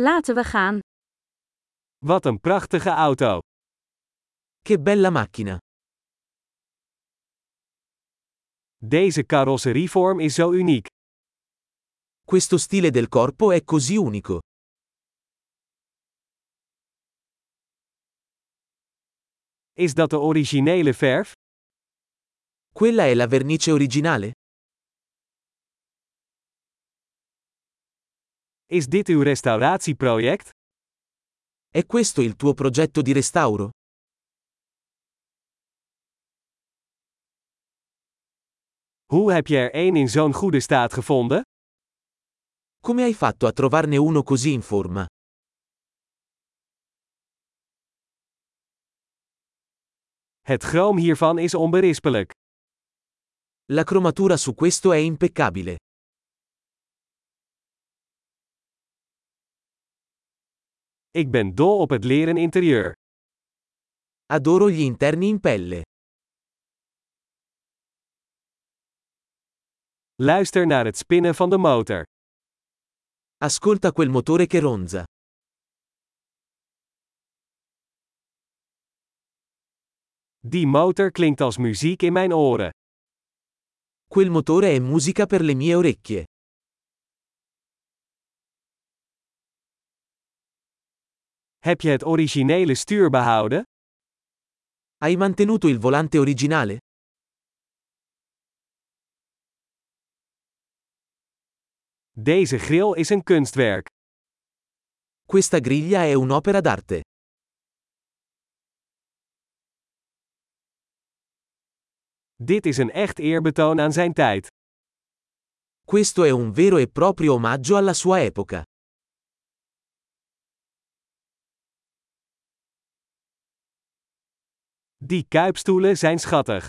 Laten we gaan. Wat een prachtige auto. Che bella macchina. Deze carrosserievorm is zo uniek. Questo stile del corpo è così unico. Is dat de originele verf? Quella è la vernice originale? Is dit uw restauratieproject? È questo il tuo progetto di restauro? Hoe heb je er één in zo'n goede staat gevonden? Come hai fatto a trovarne uno così in forma? Het chroom hiervan is onberispelijk. La cromatura su questo è impeccabile. Ik ben dol op het leren interieur. Adoro gli interni in pelle. Luister naar het spinnen van de motor. Ascolta quel motore che ronza. Die motor klinkt als muziek in mijn oren. Quel motore è musica per le mie orecchie. Heb je het originele stuur behouden? Hai mantenuto il volante originale? Deze grill is een kunstwerk. Questa griglia è un'opera d'arte. Dit is een echt eerbetoon aan zijn tijd. Questo è un vero e proprio omaggio alla sua epoca. Die kuipstoelen zijn schattig.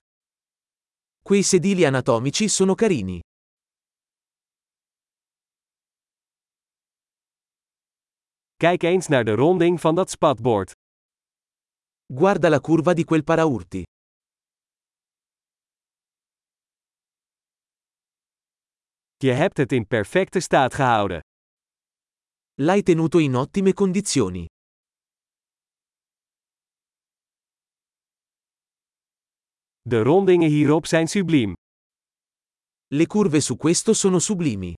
Quei sedili anatomici sono carini. Kijk eens naar de ronding van dat spatbord. Guarda la curva di quel paraurti. Je hebt het in perfecte staat gehouden. L'hai tenuto in ottime condizioni. De rondingen hierop zijn subliem. Le curve su questo sono sublimi.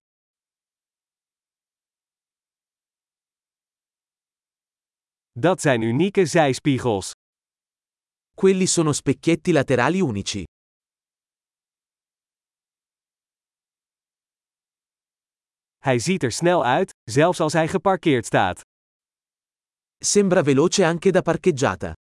Dat zijn unieke zijspiegels. Quelli sono specchietti laterali unici. Hij ziet er snel uit, zelfs als hij geparkeerd staat. Sembra veloce anche da parcheggiata.